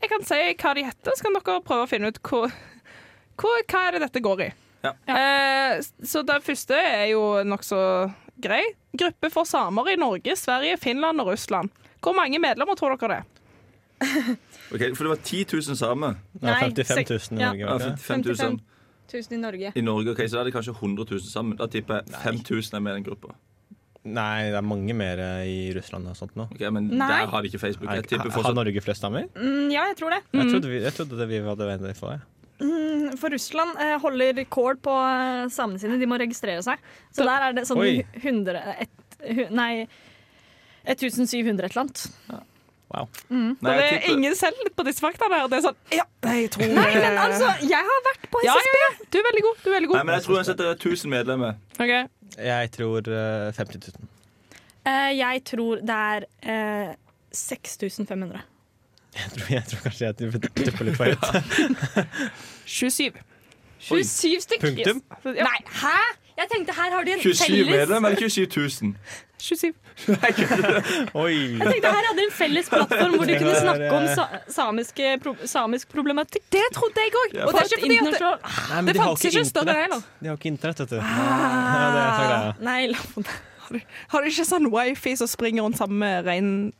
Speaker 4: Jeg kan si hva de heter, så kan dere prøve å finne ut hva, hva, hva er det dette går i.
Speaker 3: Ja.
Speaker 4: Eh, så den første er jo nokså grei. Gruppe for samer i Norge, Sverige, Finland og Russland. Hvor mange medlemmer tror dere det er?
Speaker 3: Ok, For det var 10 000 samer.
Speaker 7: Det er
Speaker 5: Nei,
Speaker 7: 55 000 i
Speaker 5: ja.
Speaker 7: Norge.
Speaker 3: Ja,
Speaker 7: var det ikke det?
Speaker 3: 55 000
Speaker 5: Tusen i Norge.
Speaker 3: i Norge. ok, så da er det kanskje 100 000 sammen. Da tipper jeg 5000 er med i den gruppa.
Speaker 7: Nei, det er mange mer eh, i Russland og sånt nå.
Speaker 3: Ok, men
Speaker 5: Nei.
Speaker 3: der har de ikke Facebook. Jeg tipper
Speaker 7: Har
Speaker 3: fortsatt
Speaker 7: Norge flest damer?
Speaker 5: Mm, ja, jeg tror det.
Speaker 7: Jeg trodde, vi, jeg trodde det vi var det enige for. jeg.
Speaker 5: Mm, For Russland eh, holder rekord på eh, samene sine. De må registrere seg. Så der er det sånn
Speaker 7: Oi.
Speaker 5: 100 et, hu- Nei, 1700 et eller annet.
Speaker 7: Wow.
Speaker 3: Nei,
Speaker 4: det
Speaker 3: jeg
Speaker 4: er
Speaker 3: tipper,
Speaker 4: ingen selv på disse faktaene. her. Det er sånn Ja, jeg tror
Speaker 5: Nei, men
Speaker 7: Eh.
Speaker 5: altså, jeg har vært på
Speaker 4: ja,
Speaker 5: SSB!
Speaker 4: ja, ja. Du er veldig god. Du er veldig
Speaker 3: nei,
Speaker 4: god.
Speaker 3: men jeg tror uansett det er 1000 medlemmer.
Speaker 4: Ok.
Speaker 7: Jeg tror eh, 50 000.
Speaker 5: Eh, jeg tror det er eh, 6500.
Speaker 7: Jeg tror, jeg tror kanskje jeg tipper litt for høyt.
Speaker 4: 27.
Speaker 5: 27 stykker!
Speaker 7: Punktum.
Speaker 4: Ja.
Speaker 5: Nei, hæ?! Jeg tenkte her har de en
Speaker 3: 27
Speaker 5: felles
Speaker 3: medlemmer eller 27 000?
Speaker 4: 27.
Speaker 7: Oi!
Speaker 5: Jeg tenkte her hadde de en felles plattform hvor de
Speaker 7: Det
Speaker 5: kunne
Speaker 7: var,
Speaker 5: snakke om
Speaker 7: eh,
Speaker 5: sa samiske, pro samisk problematikk.
Speaker 4: Det trodde jeg òg. Og det er ikke fordi at det,
Speaker 5: Internasjonal-
Speaker 7: Nei, men
Speaker 4: det
Speaker 7: de har
Speaker 4: fantes
Speaker 7: ikke
Speaker 4: ikke større
Speaker 7: internett.
Speaker 4: heller.
Speaker 7: De har ikke internett, vet du. Ja, det er så greia.
Speaker 5: Nei, la meg
Speaker 4: Har du ikke sånn wifi som springer rundt sammen med reinen?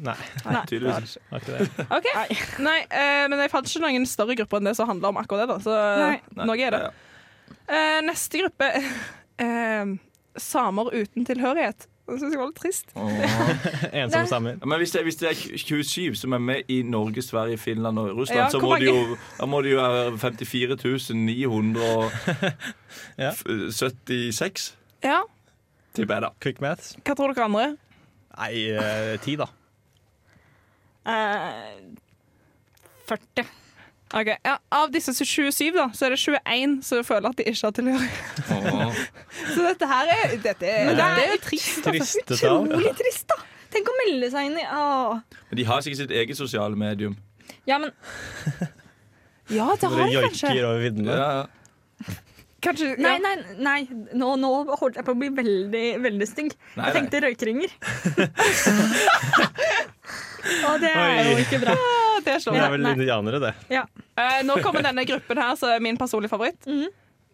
Speaker 7: Nei,
Speaker 3: Tydeligvis.
Speaker 7: det er ikke det.
Speaker 4: OK. Nei, eh, men jeg fant ikke noen større grupper enn det som handler om akkurat det. da Så
Speaker 5: Nei.
Speaker 3: Nei,
Speaker 4: noe er det.
Speaker 3: ja, ja.
Speaker 4: Eh, neste gruppe eh, Samer uten tilhørighet. Det syns jeg var litt trist.
Speaker 3: Åh.
Speaker 7: Ensomme samer.
Speaker 3: Ja, Men hvis det, hvis det er 27 som er med i Norge, Sverige, Finland og Russland,
Speaker 4: Ja,
Speaker 3: så
Speaker 4: hvor
Speaker 3: må det
Speaker 4: mange?
Speaker 3: jo, da må det jo være 54
Speaker 7: Ja.
Speaker 3: 976,
Speaker 4: Ja,
Speaker 3: tipper jeg da.
Speaker 7: Quick maths.
Speaker 4: Hva tror dere andre?
Speaker 7: Nei, eh, ti, da.
Speaker 5: Eh, 40.
Speaker 4: Ok, ja, Av disse 27 da, så er det 21 som føler at de ikke har tilhørighet. Så dette her er Dette er,
Speaker 5: Men det er
Speaker 4: dette er jo trist. Altså.
Speaker 7: Triste tall.
Speaker 5: Utrolig trist, da! Tenk å melde seg inn i Åh.
Speaker 3: Men de har sikkert sitt eget sosiale medium.
Speaker 5: Ja, men
Speaker 4: Ja, det
Speaker 7: Bare
Speaker 4: har de kanskje.
Speaker 7: joiker over viddene.
Speaker 3: Ja, ja.
Speaker 4: kanskje
Speaker 5: Nei,
Speaker 4: ja.
Speaker 5: nei, nei. Nå, nå holdt jeg på å bli veldig, veldig stygg.
Speaker 3: Nei,
Speaker 5: Jeg tenkte røykringer. Og det er
Speaker 7: Oi.
Speaker 5: jo ikke bra.
Speaker 4: Ja, det slår
Speaker 7: Det
Speaker 4: meg.
Speaker 7: er vel
Speaker 5: Nei.
Speaker 7: indianere, det.
Speaker 5: Ja.
Speaker 4: Eh, nå kommer denne gruppen her, som er min personlige favoritt.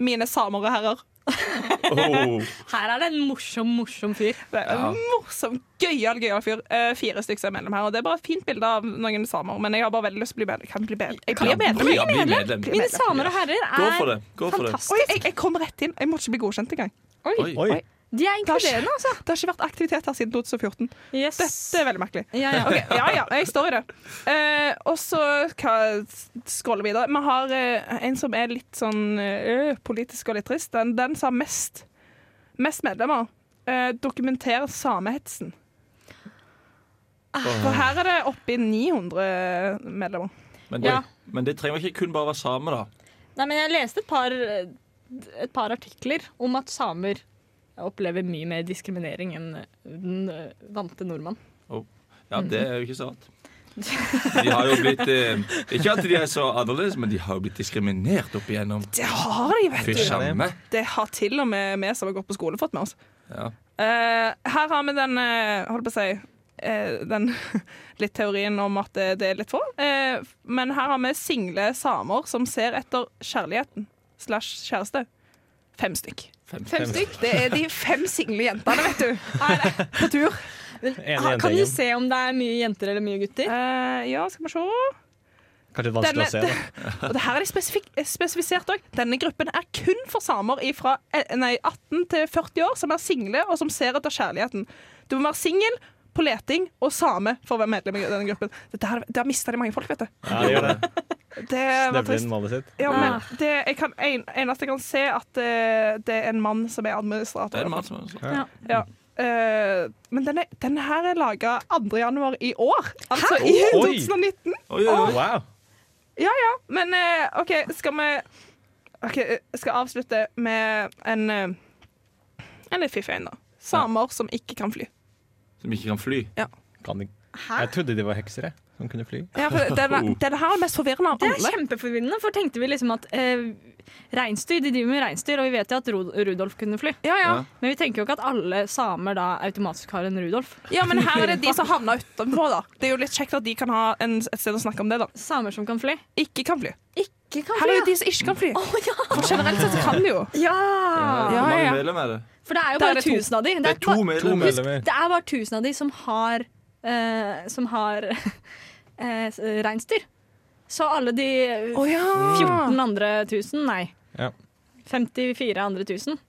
Speaker 4: Mine samere herrer.
Speaker 3: Oh.
Speaker 5: Her er det en morsom, morsom fyr.
Speaker 4: Det er en morsom, gøyal, gøyal fyr. Eh, fire stykker som er medlem her. Og det er bare et fint bilde av noen samer, men jeg har bare veldig lyst til å bli medlem. Kan jeg bli med- jeg blir
Speaker 3: Ja,
Speaker 4: medlem.
Speaker 3: ja,
Speaker 4: jeg.
Speaker 3: bli medlem.
Speaker 5: Mine samer og herrer
Speaker 3: Gå for
Speaker 5: er
Speaker 3: det. Gå for det.
Speaker 5: fantastiske.
Speaker 4: Oi, jeg, jeg kom rett inn. Jeg måtte ikke bli godkjent engang.
Speaker 5: Oi.
Speaker 3: Oi.
Speaker 7: Oi.
Speaker 5: De er inkluderende, altså.
Speaker 4: Det har ikke vært aktivitet her siden 2014.
Speaker 5: Yes.
Speaker 4: Dette er veldig merkelig.
Speaker 5: Ja, ja.
Speaker 4: Ok, ja, ja, jeg står i det. Eh, og så hva- scroller vi videre. Vi har eh, en som er litt sånn eh, politisk og litt trist. Den, den som har mest, mest medlemmer, eh, dokumenterer samehetsen. For her er det oppi 900 medlemmer.
Speaker 3: Men det,
Speaker 5: Ja.
Speaker 3: men det trenger ikke kun bare være same, da.
Speaker 5: Nei, men jeg leste et par, et par artikler om at samer opplever mye mer diskriminering enn den eh, vante nordmann.
Speaker 3: Ja, Det er jo ikke så rart. De har jo blitt eh, Ikke at de er så annerledes, men de har jo blitt diskriminert opp igjennom.
Speaker 4: Det har de, vet
Speaker 3: Fy
Speaker 4: du!
Speaker 3: sjamme.
Speaker 4: Det har til og med vi som har gått på skole, fått med oss.
Speaker 3: Ja.
Speaker 4: Eh, her har vi den eh, Holdt på å si eh, Den litt teorien om at det, det er litt få. Eh, men her har vi single samer som ser etter kjærligheten slash kjæreste. Fem stykk.
Speaker 3: Fem-
Speaker 4: Fem stykk, Det er de fem single jentene, vet du. På tur.
Speaker 7: Enig
Speaker 5: Ha- Kan du
Speaker 7: jentegjengen.
Speaker 5: se om det er mye jenter eller mye gutter?
Speaker 4: Eh, ja, skal vi se.
Speaker 7: Kanskje litt vanskelig å se. Da.
Speaker 4: Og det her er det spesifik eh, spesifisert òg. Denne gruppen er kun for samer fra nei, 18 til 40 år som er single og som ser etter kjærligheten. Du må være singel, på leting og same for å være medlem i denne gruppen. Dette her, det har mista de mange folk, vet du.
Speaker 7: Ja, det gjør det.
Speaker 4: Det var
Speaker 7: Snevler inn
Speaker 4: trist.
Speaker 7: målet sitt.
Speaker 4: Ja, men det, jeg kan, en, eneste jeg kan se, at eh, det er en mann som er administrator.
Speaker 3: Det er en mann som er sånn.
Speaker 4: Ja. Eh, men denne, denne her er laga 2. januar i år. Altså i
Speaker 7: Oi!
Speaker 4: 2019.
Speaker 3: Oi, oi, oi.
Speaker 7: Wow.
Speaker 4: Ja, ja, men eh, OK, skal vi Ok, jeg skal avslutte med en eh, En litt fiffig en, da. Samer som ikke kan fly.
Speaker 3: Som ikke kan fly.
Speaker 7: Kan ikke- Jeg trodde de var heksere som kunne fly.
Speaker 4: Ja, for den, er- den her er mest forvirrende av
Speaker 5: Det er
Speaker 4: alle.
Speaker 5: kjempeforvirrende, for tenkte vi liksom at eh, reinsdyr de driver med reinsdyr, og vi vet jo at Ru- Rudolf kunne fly.
Speaker 4: Ja, ja.
Speaker 3: Ja.
Speaker 5: Men vi tenker jo ikke at alle samer da automatisk har en Rudolf.
Speaker 4: ja, men her er det de som havna utenfor, da. Det er jo litt kjekt at de kan ha en, et sted å snakke om det, da.
Speaker 5: Samer som kan fly.
Speaker 4: Ikke kan fly.
Speaker 5: Ikke kan
Speaker 4: Her
Speaker 5: fly,
Speaker 4: er jo de som ikke kan fly.
Speaker 5: Å ja.
Speaker 4: For generelt sett så kan de jo.
Speaker 5: ja!
Speaker 3: Hvor
Speaker 4: Ja,
Speaker 3: mange
Speaker 4: ja.
Speaker 3: medlemmer er det?
Speaker 5: For det er jo
Speaker 4: Der er
Speaker 5: bare
Speaker 4: to.
Speaker 5: tusen av de.
Speaker 3: Det er to
Speaker 5: bare-
Speaker 7: To
Speaker 3: medlemmer.
Speaker 7: medlemmer.
Speaker 5: Det er bare tusen av de som har eh, Som har eh, s- reinsdyr. Så alle de
Speaker 4: Å ja.
Speaker 5: 14 andre tusen, nei.
Speaker 7: Ja.
Speaker 5: 54 andre tusen.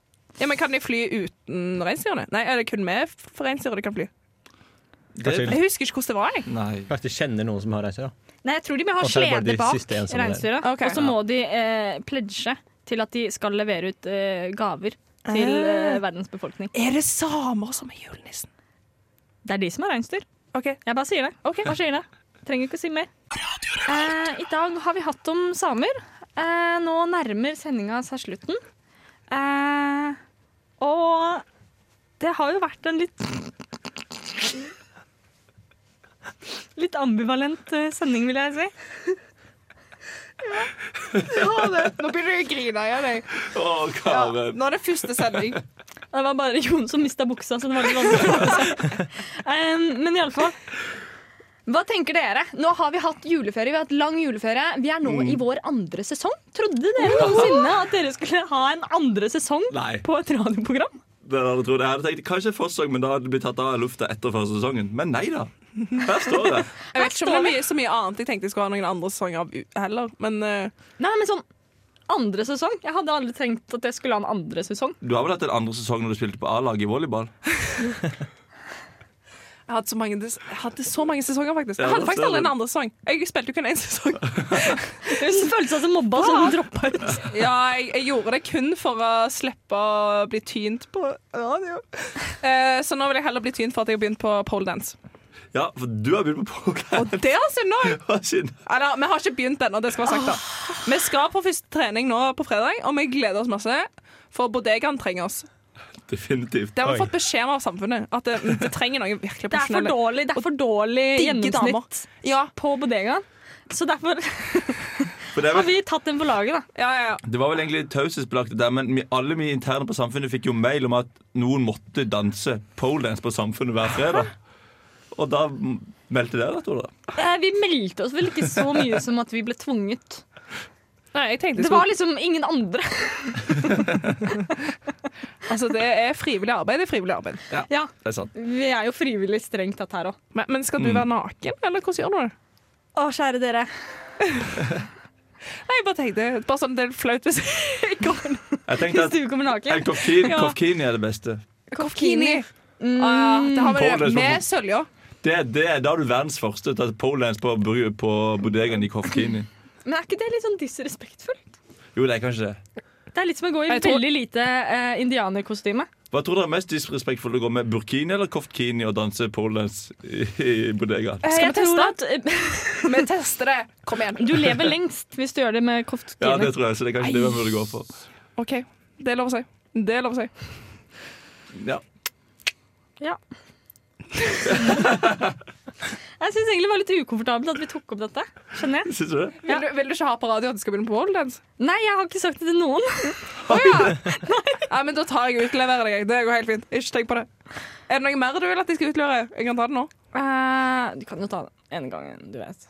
Speaker 4: ja. Men kan de fly uten reinsdyrene? Nei, er det kun med for reinsdyr de kan fly?
Speaker 3: Det-
Speaker 4: Jeg husker ikke hvordan det var, jeg.
Speaker 3: Nei.
Speaker 7: Kanskje de kjenner noen som har reiser. da.
Speaker 5: Nei, jeg tror de må ha
Speaker 7: Og så er det bare
Speaker 5: slede
Speaker 7: de
Speaker 5: bak
Speaker 7: siste en som er-
Speaker 5: reinsdyra.
Speaker 4: Ok.
Speaker 5: Og så må de eh, pledge til at de skal levere ut eh, gaver til
Speaker 4: Ah.
Speaker 5: eh, verdens befolkning.
Speaker 4: Er det samer som er julenissen?
Speaker 5: Det er de som er reinsdyr.
Speaker 4: OK.
Speaker 5: Jeg bare sier det. Bare sier det. Trenger ikke å si mer. Eh, I dag har vi hatt om samer. Eh, nå nærmer sendinga seg slutten. Eh, og det har jo vært en litt Litt ambivalent eh, sending, vil jeg si.
Speaker 4: Nå begynner jeg å grine igjen. jeg.
Speaker 3: Å,
Speaker 4: Ja,
Speaker 3: Karen.
Speaker 4: nå er det første sending.
Speaker 5: Det var bare Jon som mista buksa, så det var litt vanskelig. å få seg. um, men iallfall. Hva tenker dere? Nå har vi hatt juleferie. Vi har hatt lang juleferie. Vi er nå i vår andre sesong. Trodde dere noensinne at dere skulle ha en andre sesong
Speaker 3: Nei.
Speaker 5: på et radioprogram?
Speaker 3: Den hadde trodd. Jeg hadde tenkt kanskje forsøk, men da hadde det blitt tatt av lufta etter første sesongen. Men nei da. Her står det.
Speaker 4: Jeg vet ikke om det er mye, så mye annet jeg tenkte jeg skulle ha noen andre sanger av u- heller, men eh,
Speaker 5: Nei, men sånn andre sesong? Jeg hadde aldri tenkt at jeg skulle ha en andre sesong.
Speaker 3: Du har vel hatt en andre sesong når du spilte på A-laget i volleyball?
Speaker 4: jeg hadde, så mange, dis- jeg hadde så mange sesonger, faktisk. Jeg
Speaker 3: Ja,
Speaker 4: hadde
Speaker 3: det
Speaker 4: faktisk
Speaker 3: ser
Speaker 4: aldri en
Speaker 3: du.
Speaker 4: andre sesong. Jeg spilte jo kun én sesong.
Speaker 5: Hun følte seg så mobba, så hun droppa sånn, ut.
Speaker 4: Ja, jeg, jeg gjorde det kun for å slippe å bli tynt på radio. Eh, så nå vil jeg heller bli tynt for at jeg har begynt på pole dance.
Speaker 3: Ja, for du har begynt på poker.
Speaker 4: Og det har synd òg!
Speaker 3: Hva skjedde?
Speaker 4: Eller, vi har ikke begynt ennå, det skal være sagt. da. Vi skal på første trening nå på fredag, og vi gleder oss masse. For bodegaen trenger oss.
Speaker 3: Definitivt.
Speaker 4: Det har vi
Speaker 7: Oi.
Speaker 4: fått beskjed om av samfunnet. At det, det trenger noen
Speaker 5: Det er
Speaker 4: virkelig
Speaker 5: for
Speaker 4: profesjonelle.
Speaker 5: dårlig, det er for dårlig
Speaker 4: digge damer.
Speaker 5: gjennomsnitt
Speaker 4: Ja,
Speaker 5: på bodegaen. Så derfor har
Speaker 3: For det, er vel,
Speaker 5: vi tatt den på laget, da.
Speaker 4: ja, ja, ja.
Speaker 3: det var vel egentlig taushetsbelagt, det der, men vi, alle vi interne på Samfunnet fikk jo mail om at noen måtte danse poledance på Samfunnet hver fredag. Og da m- meldte dere, tror jeg.
Speaker 5: Eh, Vi meldte oss vel ikke så mye som at vi ble tvunget.
Speaker 4: Nei, jeg tenkte
Speaker 5: Det var liksom ingen andre.
Speaker 4: Altså, det er frivillig arbeid. Det er frivillig arbeid.
Speaker 5: Ja,
Speaker 3: Det er sant.
Speaker 5: Vi er jo frivillig strengt tatt her òg.
Speaker 4: Men, men skal du være naken, eller hvordan gjør du det?
Speaker 5: Å, kjære dere.
Speaker 4: Nei, jeg bare tenkte bare sånn, Det er flaut hvis jeg går inn
Speaker 3: Jeg tenkte
Speaker 5: Hvis
Speaker 3: at
Speaker 5: du kommer
Speaker 3: en
Speaker 5: naken.
Speaker 3: kofkin,
Speaker 5: Ja.
Speaker 3: kofkini er det beste.
Speaker 4: Kofkini.
Speaker 5: Mm.
Speaker 4: Ah, det har vi det.
Speaker 3: Påløs-
Speaker 4: Med sølja.
Speaker 3: Det, det, da er du verdens første til å ta poledance på, bru- på bodegaen i kofkini.
Speaker 5: Men er ikke det litt sånn disrespektfullt?
Speaker 3: Jo, det er kanskje det.
Speaker 5: Det er litt som å gå i
Speaker 4: Jeg tror-
Speaker 5: veldig lite eh, indianerkostyme.
Speaker 3: Hva tror dere er mest disrespektfullt å gå med burkini eller koftkini og danse poledance i, i bodegaen?
Speaker 5: Eh,
Speaker 4: Skal
Speaker 5: Jeg
Speaker 4: vi teste?
Speaker 5: tror at eh,
Speaker 4: Vi tester det. Kom igjen.
Speaker 5: du lever lengst hvis du gjør det med
Speaker 3: Ja,
Speaker 5: koftkine.
Speaker 3: det tror jeg, så det er kanskje det vi burde gå for.
Speaker 4: OK. Det er lov å si. Det er lov å si.
Speaker 3: Ja.
Speaker 5: jeg syns egentlig det var litt ukomfortabelt at vi tok opp dette. Skjønner jeg?
Speaker 3: Syns du det?
Speaker 4: Vil, du, vil du ikke ha på radio at du skal begynne på poledance?
Speaker 5: Nei, jeg har ikke sagt det til noen.
Speaker 4: Nei, men da tar jeg og utleverer deg. jeg. Det går helt fint. Ikke tenk på det. Er det noe mer du vil at jeg skal utlevere? Jeg kan ta det nå.
Speaker 5: Eh, du kan jo ta det en gang, du vet.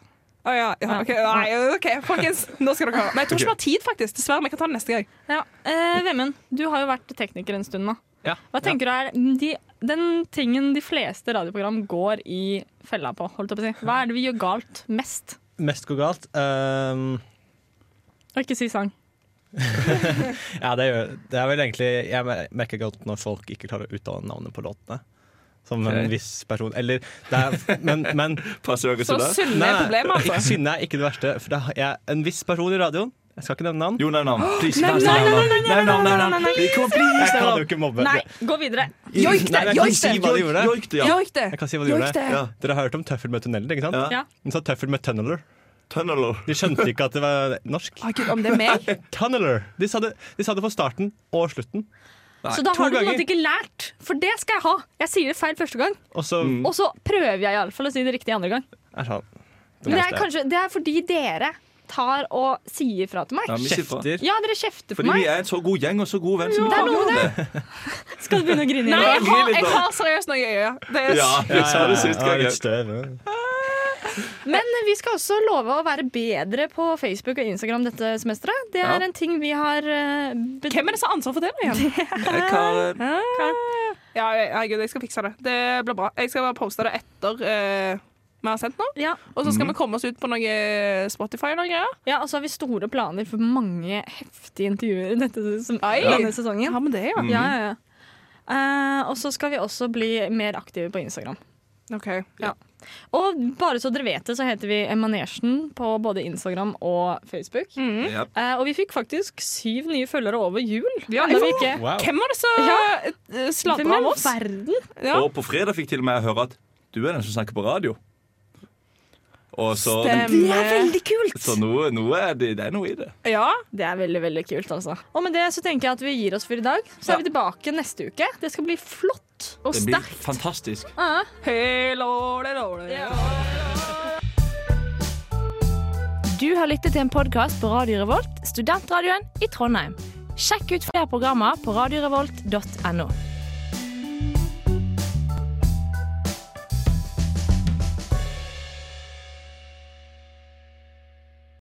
Speaker 4: Å ja. ja ok. Nei, OK, folkens. Nå skal dere høre. Men jeg tror ikke vi har tid, faktisk. Dessverre. Vi kan ta det neste gang.
Speaker 5: Ja. Eh, Vemund, du har jo vært tekniker en stund nå.
Speaker 7: Ja.
Speaker 5: Hva tenker du er de, den tingen de fleste radioprogram går i fella på? Holdt jeg på å si. Hva er det vi gjør galt mest?
Speaker 7: Mest går galt. ehm,
Speaker 5: Og ikke si sang.
Speaker 7: ja, det, gjør, det er vel egentlig Jeg mer- merker godt når folk ikke klarer å uttale navnet på låtene. Som
Speaker 3: Ok.
Speaker 7: en viss person Eller det er, Men, men
Speaker 3: Passer dere
Speaker 4: Så
Speaker 3: til det?
Speaker 4: Sunne er problemet,
Speaker 7: ikke,
Speaker 4: altså.
Speaker 7: Synne er ikke det verste. For det er jeg, en viss person i radioen Jeg skal ikke nevne navn.
Speaker 3: Jo, nei, nei. Please,
Speaker 5: Nei, nei, nei, nei, nei, nei, nei, nei, nei.
Speaker 3: Vi kan please,
Speaker 7: Jeg kan
Speaker 3: nei,
Speaker 7: jo ikke mobbe.
Speaker 5: Nei, gå videre.
Speaker 4: Joik det,
Speaker 7: Nei, men jeg
Speaker 4: joik
Speaker 7: kan si
Speaker 4: det.
Speaker 7: hva
Speaker 3: nei.
Speaker 7: de gjorde.
Speaker 3: Joik det, ja.
Speaker 4: Joik det.
Speaker 7: Jeg kan si hva de gjorde.
Speaker 4: Joik det.
Speaker 3: Ja.
Speaker 7: Dere har hørt om tøffel med tunneler, ikke sant?
Speaker 3: Ja.
Speaker 5: Ja.
Speaker 7: De sa tøffel med tunneler.
Speaker 3: Tunneler.
Speaker 7: De skjønte ikke at det var norsk.
Speaker 4: Å, Gud, om det er meg?
Speaker 7: Tunneler! De sa det, de sa det på starten og slutten.
Speaker 5: Så da
Speaker 7: to
Speaker 5: har du på en
Speaker 7: ganger.
Speaker 5: måte ikke lært. For det skal jeg ha. Jeg sier det feil første gang,
Speaker 7: Og så
Speaker 3: Mm.
Speaker 5: og så prøver jeg i alle fall å si det riktig andre gang.
Speaker 7: er sånn.
Speaker 5: Men det er, kanskje, det er fordi dere tar og sier fra til meg.
Speaker 3: Ja, vi sier fra.
Speaker 7: Kjefter.
Speaker 5: Ja, dere kjefter på
Speaker 3: Fordi vi
Speaker 5: meg.
Speaker 3: er en så god gjeng og så gode venn som
Speaker 5: Det er noe med
Speaker 3: det.
Speaker 5: Skal du begynne å grine?
Speaker 4: Nei,
Speaker 5: igjen?
Speaker 4: jeg har, jeg har seriøst noe i øyet. Det er
Speaker 3: Ja, jeg sa det sist
Speaker 7: Ja,
Speaker 3: gang.
Speaker 7: litt støv. ja.
Speaker 5: Men vi skal også love å være bedre på Facebook og Instagram dette semesteret. Det er
Speaker 3: Ja.
Speaker 5: en ting vi har eh, be-
Speaker 4: Hvem er det som har ansvar for det nå igjen?
Speaker 3: Jeg har, eh,
Speaker 4: Ja, jeg, jeg, jeg skal fikse det. Det blir bra. Jeg skal bare poste det etter eh, vi har sendt nå.
Speaker 5: Ja.
Speaker 4: Og så skal vi komme oss ut på noe eh, Spotify og noe greier.
Speaker 5: ja, og så har vi store planer for mange heftige intervjuer dette, som,
Speaker 4: Oi.
Speaker 5: denne sesongen.
Speaker 4: Ja, men det, ja.
Speaker 5: Ja, ja, ja. Eh, og så skal vi også bli mer aktive på Instagram.
Speaker 4: OK.
Speaker 5: Ja. Og bare så dere vet det, så heter vi Emanesjen på både Instagram og Facebook.
Speaker 3: ja.
Speaker 5: Eh, og vi fikk faktisk syv nye følgere over jul.
Speaker 4: Ja,
Speaker 5: Da vi
Speaker 4: jeg-
Speaker 5: ikke
Speaker 7: Wow.
Speaker 4: Hvem var det som ja.
Speaker 5: Hvem
Speaker 4: sladra
Speaker 5: i
Speaker 4: av oss?
Speaker 5: verden?
Speaker 4: Ja.
Speaker 3: Og på fredag fikk til og med jeg høre at du er den som snakker på radio. Og så,
Speaker 4: Stemmer.
Speaker 3: så noe, noe er det, det er noe i det.
Speaker 4: Ja.
Speaker 5: Det er veldig veldig kult, altså. Og med det så tenker jeg at vi gir oss for i dag. Så er vi tilbake neste uke. Det skal bli flott og
Speaker 3: Det blir
Speaker 5: sterkt.
Speaker 3: fantastisk.
Speaker 5: Ja.
Speaker 1: Du har lyttet til en podkast på Radio Revolt, studentradioen i Trondheim. Sjekk ut flere programmer på radiorevolt.no.